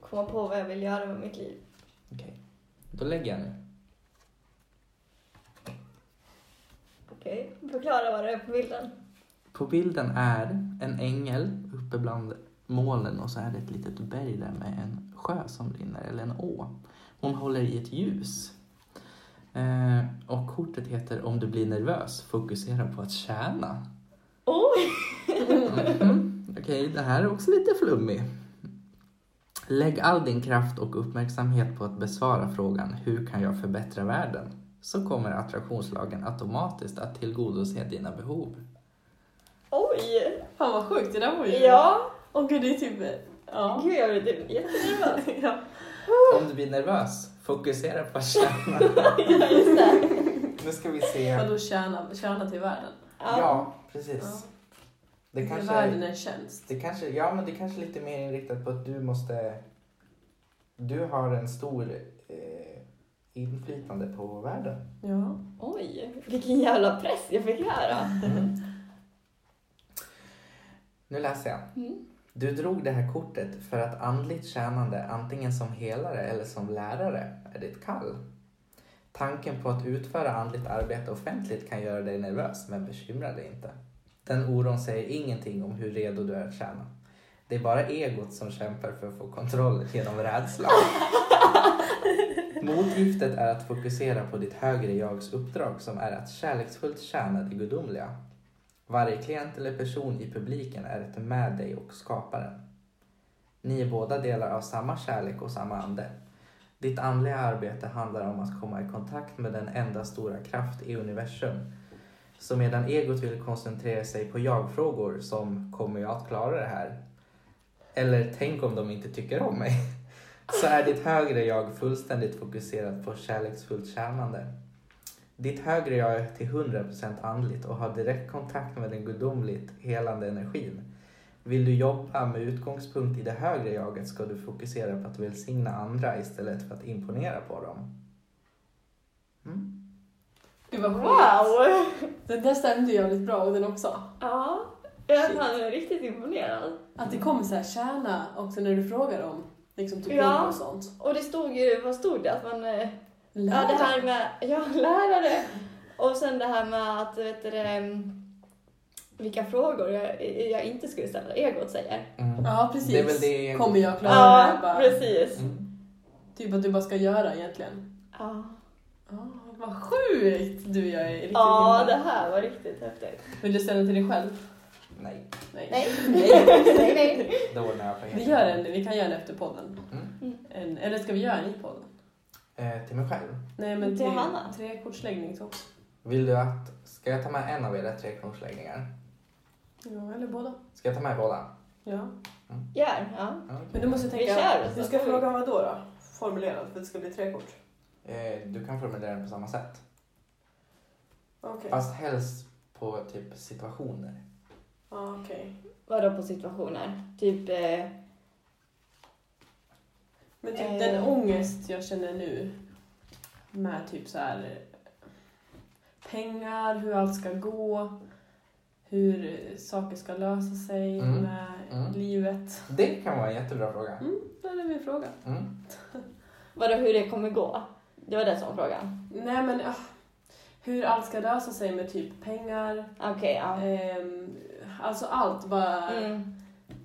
D: komma på vad jag vill göra med mitt liv?
C: Okej, då lägger jag nu.
D: Okej, förklara vad det är på bilden.
C: På bilden är en ängel uppe bland molnen och så är det ett litet berg där med en sjö som rinner, eller en å. Hon håller i ett ljus. Eh, och kortet heter Om du blir nervös, fokusera på att tjäna.
D: Oj!
C: Mhm. Okej, det här är också lite flummig. Lägg all din kraft och uppmärksamhet på att besvara frågan Hur kan jag förbättra världen? Så kommer attraktionslagen automatiskt att tillgodose dina behov.
D: Oj!
B: Fan vad sjukt, det där var ju...
D: Ja,
B: Åh gud, det är typ... Ja.
D: gud jag blir typ jättenervös.
B: ja.
C: Om du blir nervös, fokusera på att tjäna.
D: Ja, just det.
C: Nu ska vi se.
B: Vadå tjäna, tjäna till världen?
C: Ja, precis. Det
B: Till
C: kanske
B: Världen är en tjänst.
C: Det kanske, ja men det kanske är lite mer inriktat på att du måste, du har en stor eh, inflytande på världen.
B: Ja.
D: Oj, vilken jävla press jag fick höra.
C: Nu läser jag.
D: Mm.
C: Du drog det här kortet för att andligt tjänande, antingen som helare eller som lärare, är ditt kall. Tanken på att utföra andligt arbete offentligt kan göra dig nervös, men bekymra dig inte. Den oron säger ingenting om hur redo du är att tjäna. Det är bara egot som kämpar för att få kontroll genom rädsla. Motgiftet är att fokusera på ditt högre jags uppdrag som är att kärleksfullt tjäna det gudomliga. Varje klient eller person i publiken är ett med dig och skaparen. Ni är båda delar av samma kärlek och samma ande. Ditt andliga arbete handlar om att komma i kontakt med den enda stora kraft i universum. Så medan egot vill koncentrera sig på jag-frågor som kommer jag att klara det här? Eller tänk om de inte tycker om mig? Så är ditt högre jag fullständigt fokuserat på kärleksfullt tjänande. Ditt högre jag är till 100% andligt och har direkt kontakt med den gudomligt helande energin. Vill du jobba med utgångspunkt i det högre jaget ska du fokusera på att välsigna andra istället för att imponera på dem. Mm.
B: Gud vad sjukt.
D: Wow!
B: Den där stämde ju jävligt bra och den också.
D: Ja, jag är
B: Shit.
D: fan riktigt imponerad.
B: Att det kommer så här kärna också när du frågar om liksom typ
D: Ja.
B: jobb och sånt.
D: Och det stod ju, vad stod det? Att man, eh,
B: Lär
D: ja det
B: dig.
D: här med, ja lärare. Och sen det här med att, vet du det, em, vilka frågor jag, jag inte skulle ställa, egot säger.
C: Mm.
B: Ja, precis.
C: Det är väl det-
B: Kommer jag klara det
D: Ja,
B: här? Bara,
D: precis.
C: Mm.
B: Typ att du bara ska göra egentligen.
D: Ja,
B: Ja, vad sjukt! Du, jag är riktigt
D: ja
B: imponerad.
D: det här var riktigt häftigt.
B: Vill du ställa den till dig själv?
C: Nej,
B: Nej.
D: Nej.
B: nej, nej.
C: då ordnar jag pengar.
B: Vi gör en, vi kan göra en efter podden.
C: Mm.
B: En, eller ska vi göra en i podden?
C: Eh, till mig själv.
B: Nej,
D: Till
B: men tre,
D: Hanna.
B: tre kortsläggning så.
C: Vill du att, ska jag ta med en av era tre kronorsläggningar?
B: Ja, eller båda.
C: Ska jag ta med båda?
B: Ja.
D: Gör, ja.
C: Ja, okej.
B: Men du måste
D: Vi
B: tänka...
D: kör, så
B: du ska
D: får vi-
B: fråga vad då? då? Formulerat för att det ska bli tre kort.
C: Eh, du kan formulera den på samma sätt.
B: Okej.
C: Fast helst på typ situationer.
B: Ja, okej.
D: Vadå på situationer? Typ, eh,
B: Men typ
D: Eh.
B: den ångest jag känner nu med typ så här eh, pengar, hur allt ska gå, hur eh, saker ska lösa sig
C: Mm.
B: med
C: Mm.
B: livet.
C: Det kan vara en jättebra fråga.
B: Det är min fråga.
C: Mm.
D: vadå hur det kommer gå? Det var det som var frågan.
B: Nej men ah, hur allt ska lösa sig med typ pengar,
D: Okej, ja.
B: ehm, alltså allt bara
D: Mm.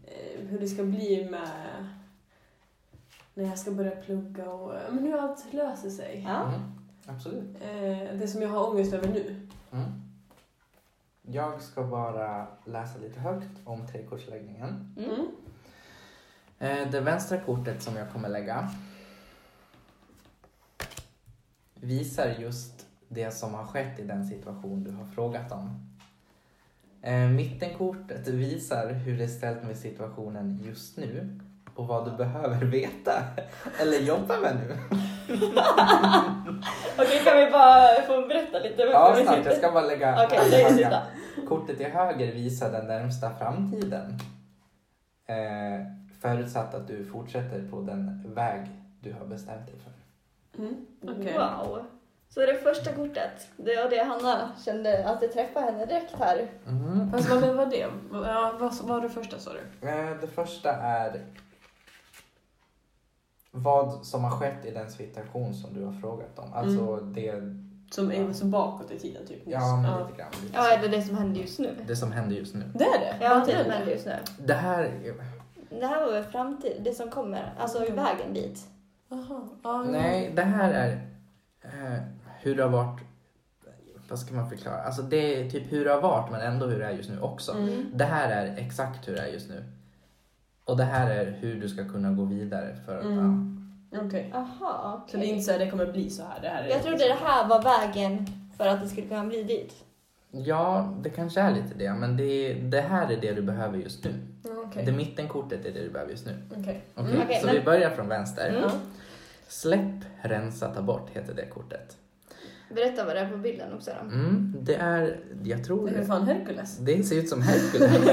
B: eh, hur det ska bli med när jag ska börja plugga och eh, men hur allt löser sig.
D: Ja.
C: Mm. Absolut.
B: Eh, det som jag har ångest över nu.
C: Mm. Jag ska bara läsa lite högt om trekortsläggningen.
D: Mm.
C: Eh, det vänstra kortet som jag kommer lägga visar just det som har skett i den situation du har frågat om. Eh, mittenkortet visar hur det är ställt med situationen just nu och vad du behöver veta eller jobba med nu.
D: Okej, kan vi bara få berätta lite?
C: Ja,
D: vi
C: snart. Jag ska bara lägga...
D: Okej, det är
C: lägga-
D: sista.
C: Kortet till höger visar den närmsta framtiden. Eh, förutsatt att du fortsätter på den väg du har bestämt dig för.
B: Mm. Okej.
D: Wow. Så det första kortet, det var det Hanna kände att det träffade henne direkt här.
C: Mm.
B: Fast vad var det? Ja, vad, vad var det första sa du?
C: Eh, det första är vad som har skett i den situation som du har frågat om. Alltså det...
B: Som är så bakåt i tiden typ. nyss.
C: Ja, men lite grann. Lite
D: Mm. Ja,
C: så.
D: är det det som händer just nu?
C: Det som händer just nu.
B: Det är det?
D: Ja,
B: Vad
D: typ, det
B: är
D: som händer just nu.
C: Det här... är-
D: Det här var väl framtid, det som Mm. kommer, alltså vägen dit.
B: Jaha. Ja, ja.
C: Nej, det här är eh, hur det har varit, vad ska man förklara? Alltså det är typ hur det har varit men ändå hur det är just nu också.
B: Mm.
C: Det här är exakt hur det är just nu. Och det här är hur du ska kunna gå vidare för att...
B: Mm. Okej.
D: Aha,
B: Så det är
D: okej.
B: inte så här, det kommer bli så här. Det här är
D: Jag trodde det här var vägen för att det skulle kunna bli dit.
C: Ja. ja, det kanske är lite det, men det, det här är det du behöver just nu.
B: Mm, Okej.
C: Det mittenkortet är det du behöver just nu.
B: Okej.
C: Okej,
D: Mm, okej,
C: så
D: men-
C: vi börjar från vänster.
D: Mm.
C: Släpp, rensa, ta bort heter det kortet.
D: Berätta vad det är på bilden också då.
C: Mm, det är, jag tror,
B: Det är för fan Hercules.
C: det ser ut som Hercules.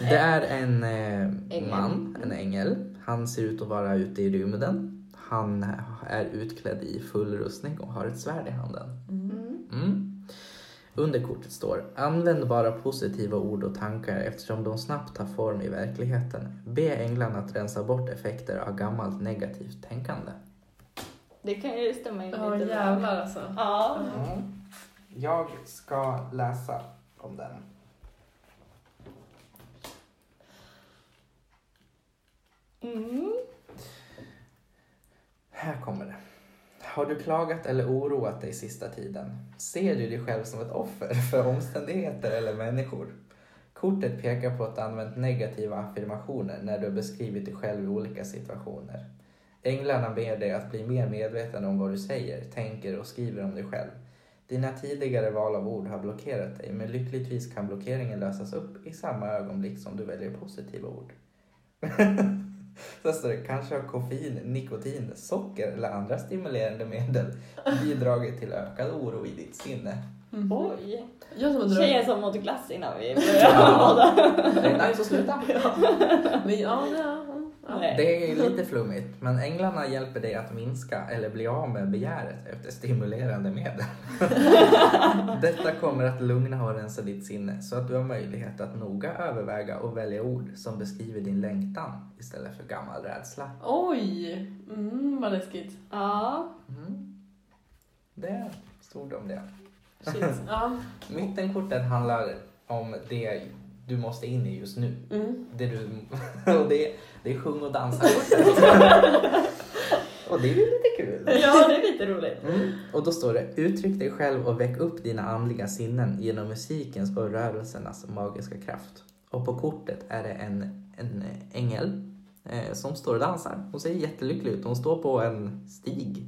C: det är en eh,
D: Ängel.
C: man, en ängel. Han ser ut att vara ute i rymden. Han är utklädd i full rustning och har ett svärd i handen.
D: Mm.
C: Mm. Under kortet står Använd bara positiva ord och tankar eftersom de snabbt tar form i verkligheten. Be änglarna att rensa bort effekter av gammalt negativt tänkande.
D: Det kan ju stämma in
B: Ja
D: lite. där.
B: jävlar alltså.
D: Ja.
C: Mm. Jag ska läsa om den.
D: Mm.
C: Här kommer det. Har du klagat eller oroat dig sista tiden? Ser du dig själv som ett offer för omständigheter eller människor? Kortet pekar på att du använt negativa affirmationer när du har beskrivit dig själv i olika situationer. Änglarna ber dig att bli mer medveten om vad du säger, tänker och skriver om dig själv. Dina tidigare val av ord har blockerat dig, men lyckligtvis kan blockeringen lösas upp i samma ögonblick som du väljer positiva ord. Sen står det kanske har koffein, nikotin, socker eller andra stimulerande medel bidragit till ökad oro i ditt sinne.
B: Mm.
D: Oj.
B: Jag som undrar.
D: Tjejen som åt glass innan vi började podda.
C: Det är dags att sluta.
B: Men, ja, ja, ja, ja.
D: Nej.
C: Det är lite flummigt, men änglarna hjälper dig att minska eller bli av med begäret efter stimulerande medel. Detta kommer att lugna och rensa ditt sinne så att du har möjlighet att noga överväga och välja ord som beskriver din längtan istället för gammal rädsla.
B: Oj! Mm, vad läskigt.
D: Ja.
C: Mm. Det stod om det.
B: Shit. Ja.
C: Mittenkortet handlar om det du måste in i just nu.
B: Mm.
C: Det, du, och det, det är sjung och dansa-kortet. och det är ju lite kul.
D: ja, det är lite roligt.
C: Mm. Och då står det uttryck dig själv och väck upp dina andliga sinnen genom musikens och rörelsernas magiska kraft. Och på kortet är det en, en ängel eh, som står och dansar. Hon ser jättelycklig ut. Hon står på en stig.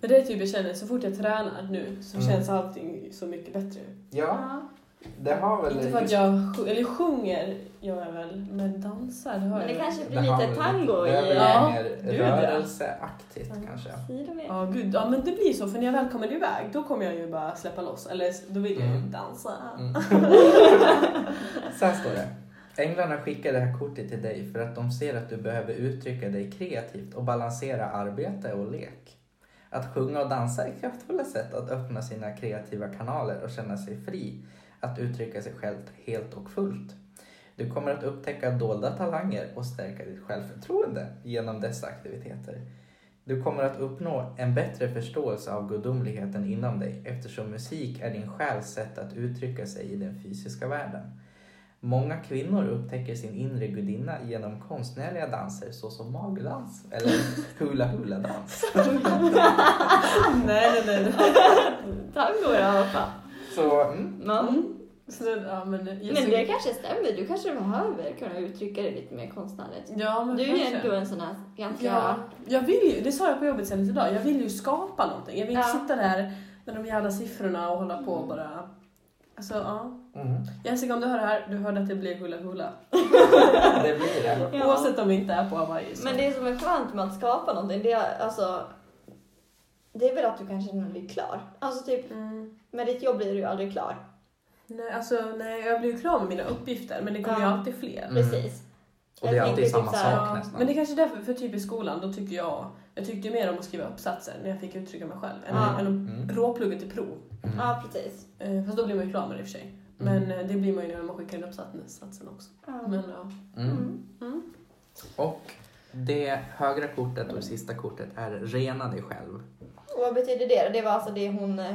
B: Men det är typ jag känner, så fort jag tränar nu så
C: Mm.
B: känns allting så mycket bättre.
C: Ja, det har
B: Inte för att jag sj- eller sjunger, gör jag väl, men dansar det hör
D: Men det
B: jag.
D: kanske
C: Det
D: blir
C: har
D: lite
C: väl-
D: tango
C: det är
D: i...
C: väl
B: Ja.
C: mer
B: gud, ja.
C: rörelseaktigt
B: Mm.
C: kanske.
D: Sidomed.
B: Ja, gud. Ja, men det blir så. För när jag väl kommer iväg, då kommer jag ju bara släppa loss. Eller då vill jag ju
C: Mm.
B: dansa.
C: Mm. Så här står det. Änglarna skickar det här kortet till dig för att de ser att du behöver uttrycka dig kreativt och balansera arbete och lek. Att sjunga och dansa är kraftfulla sätt att öppna sina kreativa kanaler och känna sig fri att uttrycka sig själv helt och fullt. Du kommer att upptäcka dolda talanger och stärka ditt självförtroende genom dessa aktiviteter. Du kommer att uppnå en bättre förståelse av gudomligheten inom dig eftersom musik är din själs sätt att uttrycka sig i den fysiska världen. Många kvinnor upptäcker sin inre gudinna genom konstnärliga danser såsom magdans eller hula-hula-dans. Mm.
B: nej, nej, nej.
D: Tango i alla fall.
C: Så, mm.
D: Men,
B: Mm. Så, det- ja, men, jag
D: men
B: ser-
D: det kanske stämmer. Du kanske behöver kunna uttrycka dig lite mer konstnärligt.
B: Ja, men
D: Du är ju
B: kanske.
D: ändå en sån här ganska...
B: Ja, jag vill ju, det sa jag på jobbet senast idag, jag vill ju skapa någonting. Jag vill inte
D: Ja. Mm.
B: sitta där med de jävla siffrorna och hålla på och bara... Alltså, ja.
C: Mm.
B: Jessica, om du hör det här, du hörde att det blir hula hula.
C: det blir det.
D: Ja.
B: Oavsett om vi inte är på Hawaii. så.
D: Men det som är skönt med att skapa någonting, det är alltså... Det är väl att du kanske när du är klar. Alltså typ,
B: Mm.
D: med ditt jobb blir du ju aldrig klar.
B: Nej, alltså, nej, jag blir ju klar med mina uppgifter, men det kommer
D: Ja.
B: ju alltid fler.
C: Mm.
D: Precis.
C: Och det är
D: Jag
C: alltid
D: tänker
C: samma
D: typ så här,
C: sak
B: Men det
C: nästan.
B: är kanske är därför, för typ i skolan, då tycker jag... Jag tyckte ju mer om att skriva uppsatser när jag fick uttrycka mig själv, än,
D: Ja.
B: än
C: Mm.
B: att råplugga till prov.
C: Mm.
D: Ja, precis.
B: Eh, Fast då blir man ju klar med det i och för sig. Men eh, det blir man ju när man skickar in uppsatsen också.
D: Ja.
B: Men ja.
C: Mm.
B: Mm.
C: Och det högra kortet och det sista kortet är rena dig själv.
D: Och vad betyder det? Det var alltså det hon eh,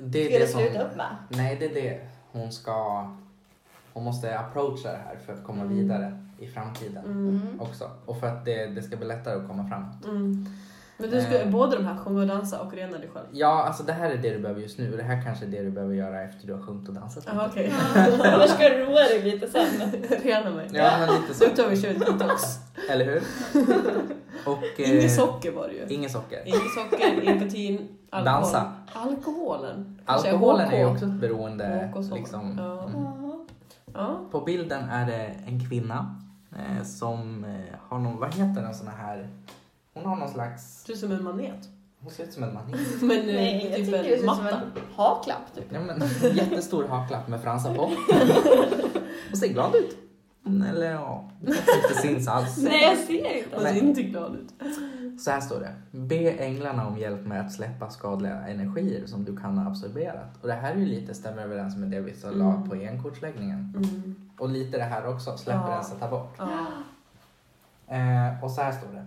C: Det är
D: skulle
C: det som...
D: sluta upp med.
C: Nej, det är det. Hon ska... Hon måste approacha det här för att komma
B: Mm.
C: vidare i framtiden
B: Mm.
C: också. Och för att det, det ska bli lättare att komma fram.
B: Mm. Men du ska
C: Eh.
B: både de här sjunga och dansa och rena dig själv?
C: Ja, alltså det här är det du behöver just nu och det här kanske är det du behöver göra efter du har sjungit och dansat.
B: Jaha okej.
D: Mm. Annars ska du roa dig lite sen.
B: rena mig.
C: Ja, men lite så.
B: Så tar vi kör detox.
C: Eller hur? Och, eh,
B: Inget socker var det ju.
C: Inget socker.
B: Inget socker, nikotin, alkohol.
C: Dansa.
B: Alkoholen. Kanske
C: Alkoholen är ju
B: HK.
C: också ett beroende.
B: HK socker.
C: Liksom.
B: Ja.
C: Mm.
B: Ja.
C: På bilden är det en kvinna eh, som eh, har någon, vad heter den sån här, hon har någon slags,
B: Ser ut som en manet.
C: hon ser ut som en manet.
B: Men eh,
D: Nej, jag
B: typ
D: tycker det
B: en
D: ser ut som
B: matta.
D: en haklapp typ.
C: Ja, men, jättestor haklapp med fransar på. Och ser glad ut. Eller ja, inte syns alls.
D: Nej jag ser inte.
B: Man ser
C: Nej.
B: inte glad ut.
C: Så här står det. Be änglarna om hjälp med att släppa skadliga energier som du kan ha absorberat. Och det här är ju lite stämmer överens med det vi så la på enkortsläggningen.
B: Mm.
C: Och lite det här också, släpp
B: Ja.
C: rensa, ta bort.
B: Ja.
C: Eh, och så här står det.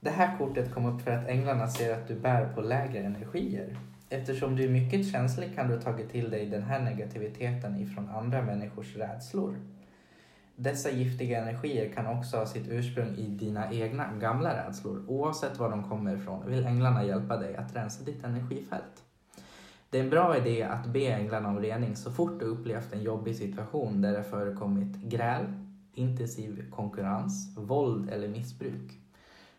C: Det här kortet kom upp för att änglarna ser att du bär på lägre energier. Eftersom du är mycket känslig kan du ha tagit till dig den här negativiteten ifrån andra människors rädslor. Dessa giftiga energier kan också ha sitt ursprung i dina egna gamla rädslor. Oavsett var de kommer ifrån vill änglarna hjälpa dig att rensa ditt energifält. Det är en bra idé att be änglarna om rening så fort du upplevt en jobbig situation där det förekommit gräl, intensiv konkurrens, våld eller missbruk.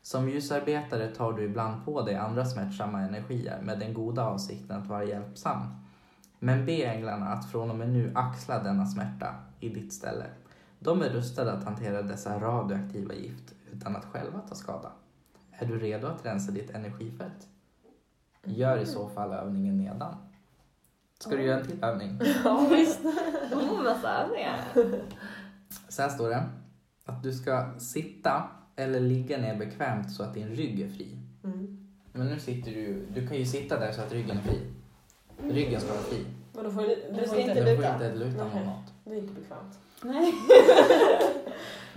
C: Som ljusarbetare tar du ibland på dig andra smärtsamma energier med den goda avsikten att vara hjälpsam. Men be änglarna att från och med nu axla denna smärta i ditt ställe. De är rustade att hantera dessa radioaktiva gift utan att själva ta skada. Är du redo att rensa ditt energifält? Gör i så fall övningen nedan. Ska du göra en till övning?
D: Ja visst. Mm, massa övningar.
C: Sen står det att du ska sitta eller ligga ner bekvämt så att din rygg är fri.
B: Mm.
C: Men nu sitter du du kan ju sitta där så att ryggen är fri. Ryggen ska vara fri.
B: Men då får du,
D: Du
B: du
D: ska
B: får
D: inte
B: inte...
C: Den får inte
D: luta.
C: Mm. luta
B: Nej.
C: mot något.
B: Det är inte bekvämt.
D: Nej.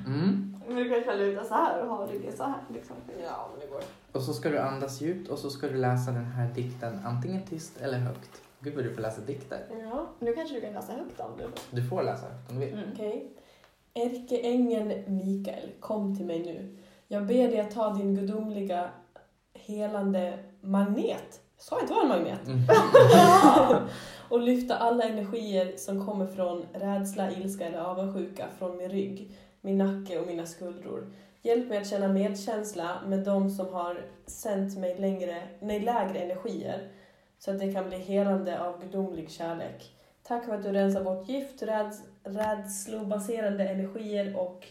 C: Mm.
D: Men du kanske kan luta så här och ha ryggen så här liksom.
B: Ja, men det går.
C: Och så ska du andas djupt och så ska du läsa den här dikten antingen tyst eller högt. Gud vad du får läsa dikter.
B: Ja, Mm.
D: Nu kanske du kan läsa högt av det.
C: Du får läsa högt om du
D: Mm.
C: vill.
B: okej. Ärkeängeln Mikael, kom till mig nu. Jag ber dig att ta din gudomliga helande magnet. Sa jag inte det var en magnet?
C: Mm.
B: och lyfta alla energier som kommer från rädsla, ilska eller avundsjuka från min rygg, min nacke och mina skuldror. Hjälp mig att känna medkänsla med de som har sänt mig längre, nej, lägre energier så att det kan bli helande av gudomlig kärlek. Tack för att du rensar bort gift, räds, rädslobaserade energier och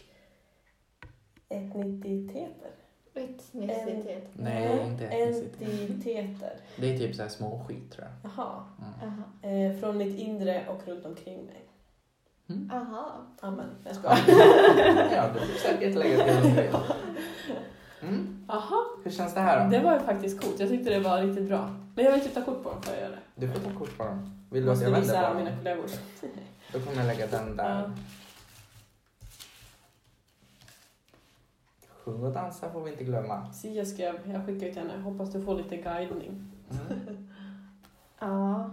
B: etniciteter.
D: Etnicitet.
C: Nej, inte etnicitet.
B: Entiteter.
C: Det är typ så här små skit tror jag. Mm.
B: Jaha.
D: Aha.
B: Eh, från mitt inre och runt omkring mig.
D: Aha.
B: Amen. Jag skojar.
C: Ja, ja du försöker lägga till om du vill. Mm.
B: Aha,
C: Hur känns det här då?
B: det var ju faktiskt coolt. Jag tyckte det var riktigt bra. Men jag vill typ ta kort på dem för att göra det.
C: Du får ta kort på dem. Vill
B: Jag
C: du att
B: måste
C: jag vänder
B: visa
C: på dem?
B: mina kollegor.
C: Då kommer jag lägga den där.
B: Ja.
C: Sjung och dansa får vi inte glömma.
B: Sia skrev, jag skickar ut henne, hoppas du får lite guidning.
C: Mm.
D: Ja.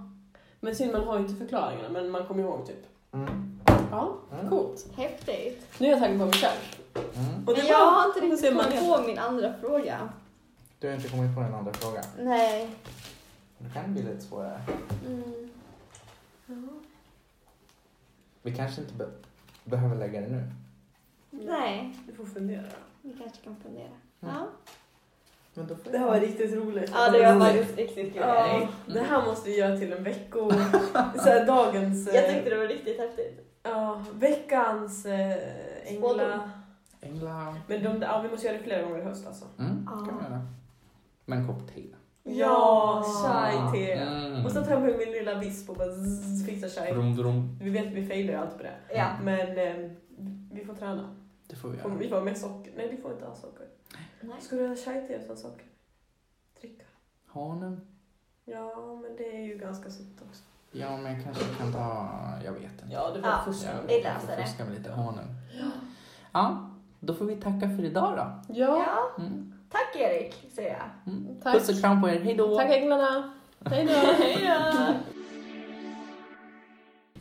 B: Men synd, man har ju inte förklaringarna, men man kommer ihåg typ.
C: Mm.
B: Ja,
C: Mm.
B: coolt.
D: Häftigt.
B: Nu är jag taggad på mig själv.
C: Mm.
B: Och det
D: Men
B: var-
D: jag har inte
B: då
D: riktigt
B: ser man
D: kommit
B: det.
D: på min andra fråga.
C: Du har inte kommit på den andra frågan.
D: Nej.
C: Då kan det bli lite svårare.
D: Mm.
C: Vi kanske inte be- behöver lägga det nu.
D: Nej.
B: Du får fundera.
D: Vi kanske kan fundera.
C: Mm.
D: Ja.
C: Men då får
B: Det här var riktigt roligt.
D: Ja, det var faktiskt riktigt kul.
B: Ja,
D: Erik.
B: det här måste vi göra till en vecko... så här, dagens... eh,
D: Jag tyckte det var riktigt häftigt.
B: Ja, veckans eh,
D: Spådom.
B: ängla...
C: Änglar.
B: Men de, ja, vi måste göra det flera gånger i höst alltså.
C: Mm.
D: Ja.
C: kan vi göra. Med en kopp te.
B: Ja,
D: Ja.
B: chai te.
C: Mm.
B: Och så tar jag med min lilla visp och bara zzz, fixar chai.
C: Vroom, vroom.
B: Vi vet att vi failar ju alltid på det.
D: Ja.
B: Men eh, vi får träna.
C: Det får vi
B: Får-
C: göra.
B: Vi får ha med socker. Nej, vi får inte ha socker.
D: Nej.
B: Ska du ha chai te utan socker? Dricka.
C: Hanen?
B: Ja, men det är ju ganska sött också.
C: Ja, men jag kanske kan ta... Jag vet inte.
B: Ja, du får
D: Ja.
B: fuska.
C: Jag
D: Vi löser det.
C: fuskar med lite hanen. Ja, då får vi tacka för idag då.
B: Ja,
D: Ja.
C: Mm.
D: Tack Erik, säger jag.
C: Mm.
B: Tack.
C: Puss och kram på er. Hej då.
B: tack änglarna. Hej då.
D: Hej då!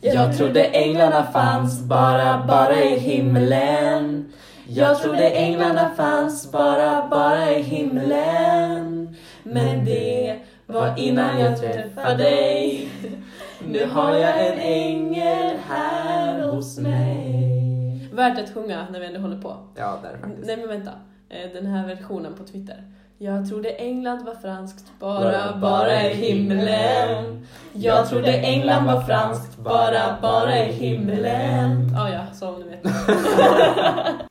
C: Jag trodde änglarna fanns bara, bara i himlen Jag trodde änglarna fanns bara, bara i himlen. Men det var innan jag träffade dig. Nu har jag en ängel här hos mig.
B: Värt att sjunga när vi ändå håller på.
C: Ja, där
B: N-
C: faktiskt.
B: Nej men vänta, Eh, den här versionen på Twitter. Jag trodde England var franskt bara,
C: Bara,
B: bara i himlen. Jag trodde England var franskt bara, bara i himlen. Ja, ja, som ni vet.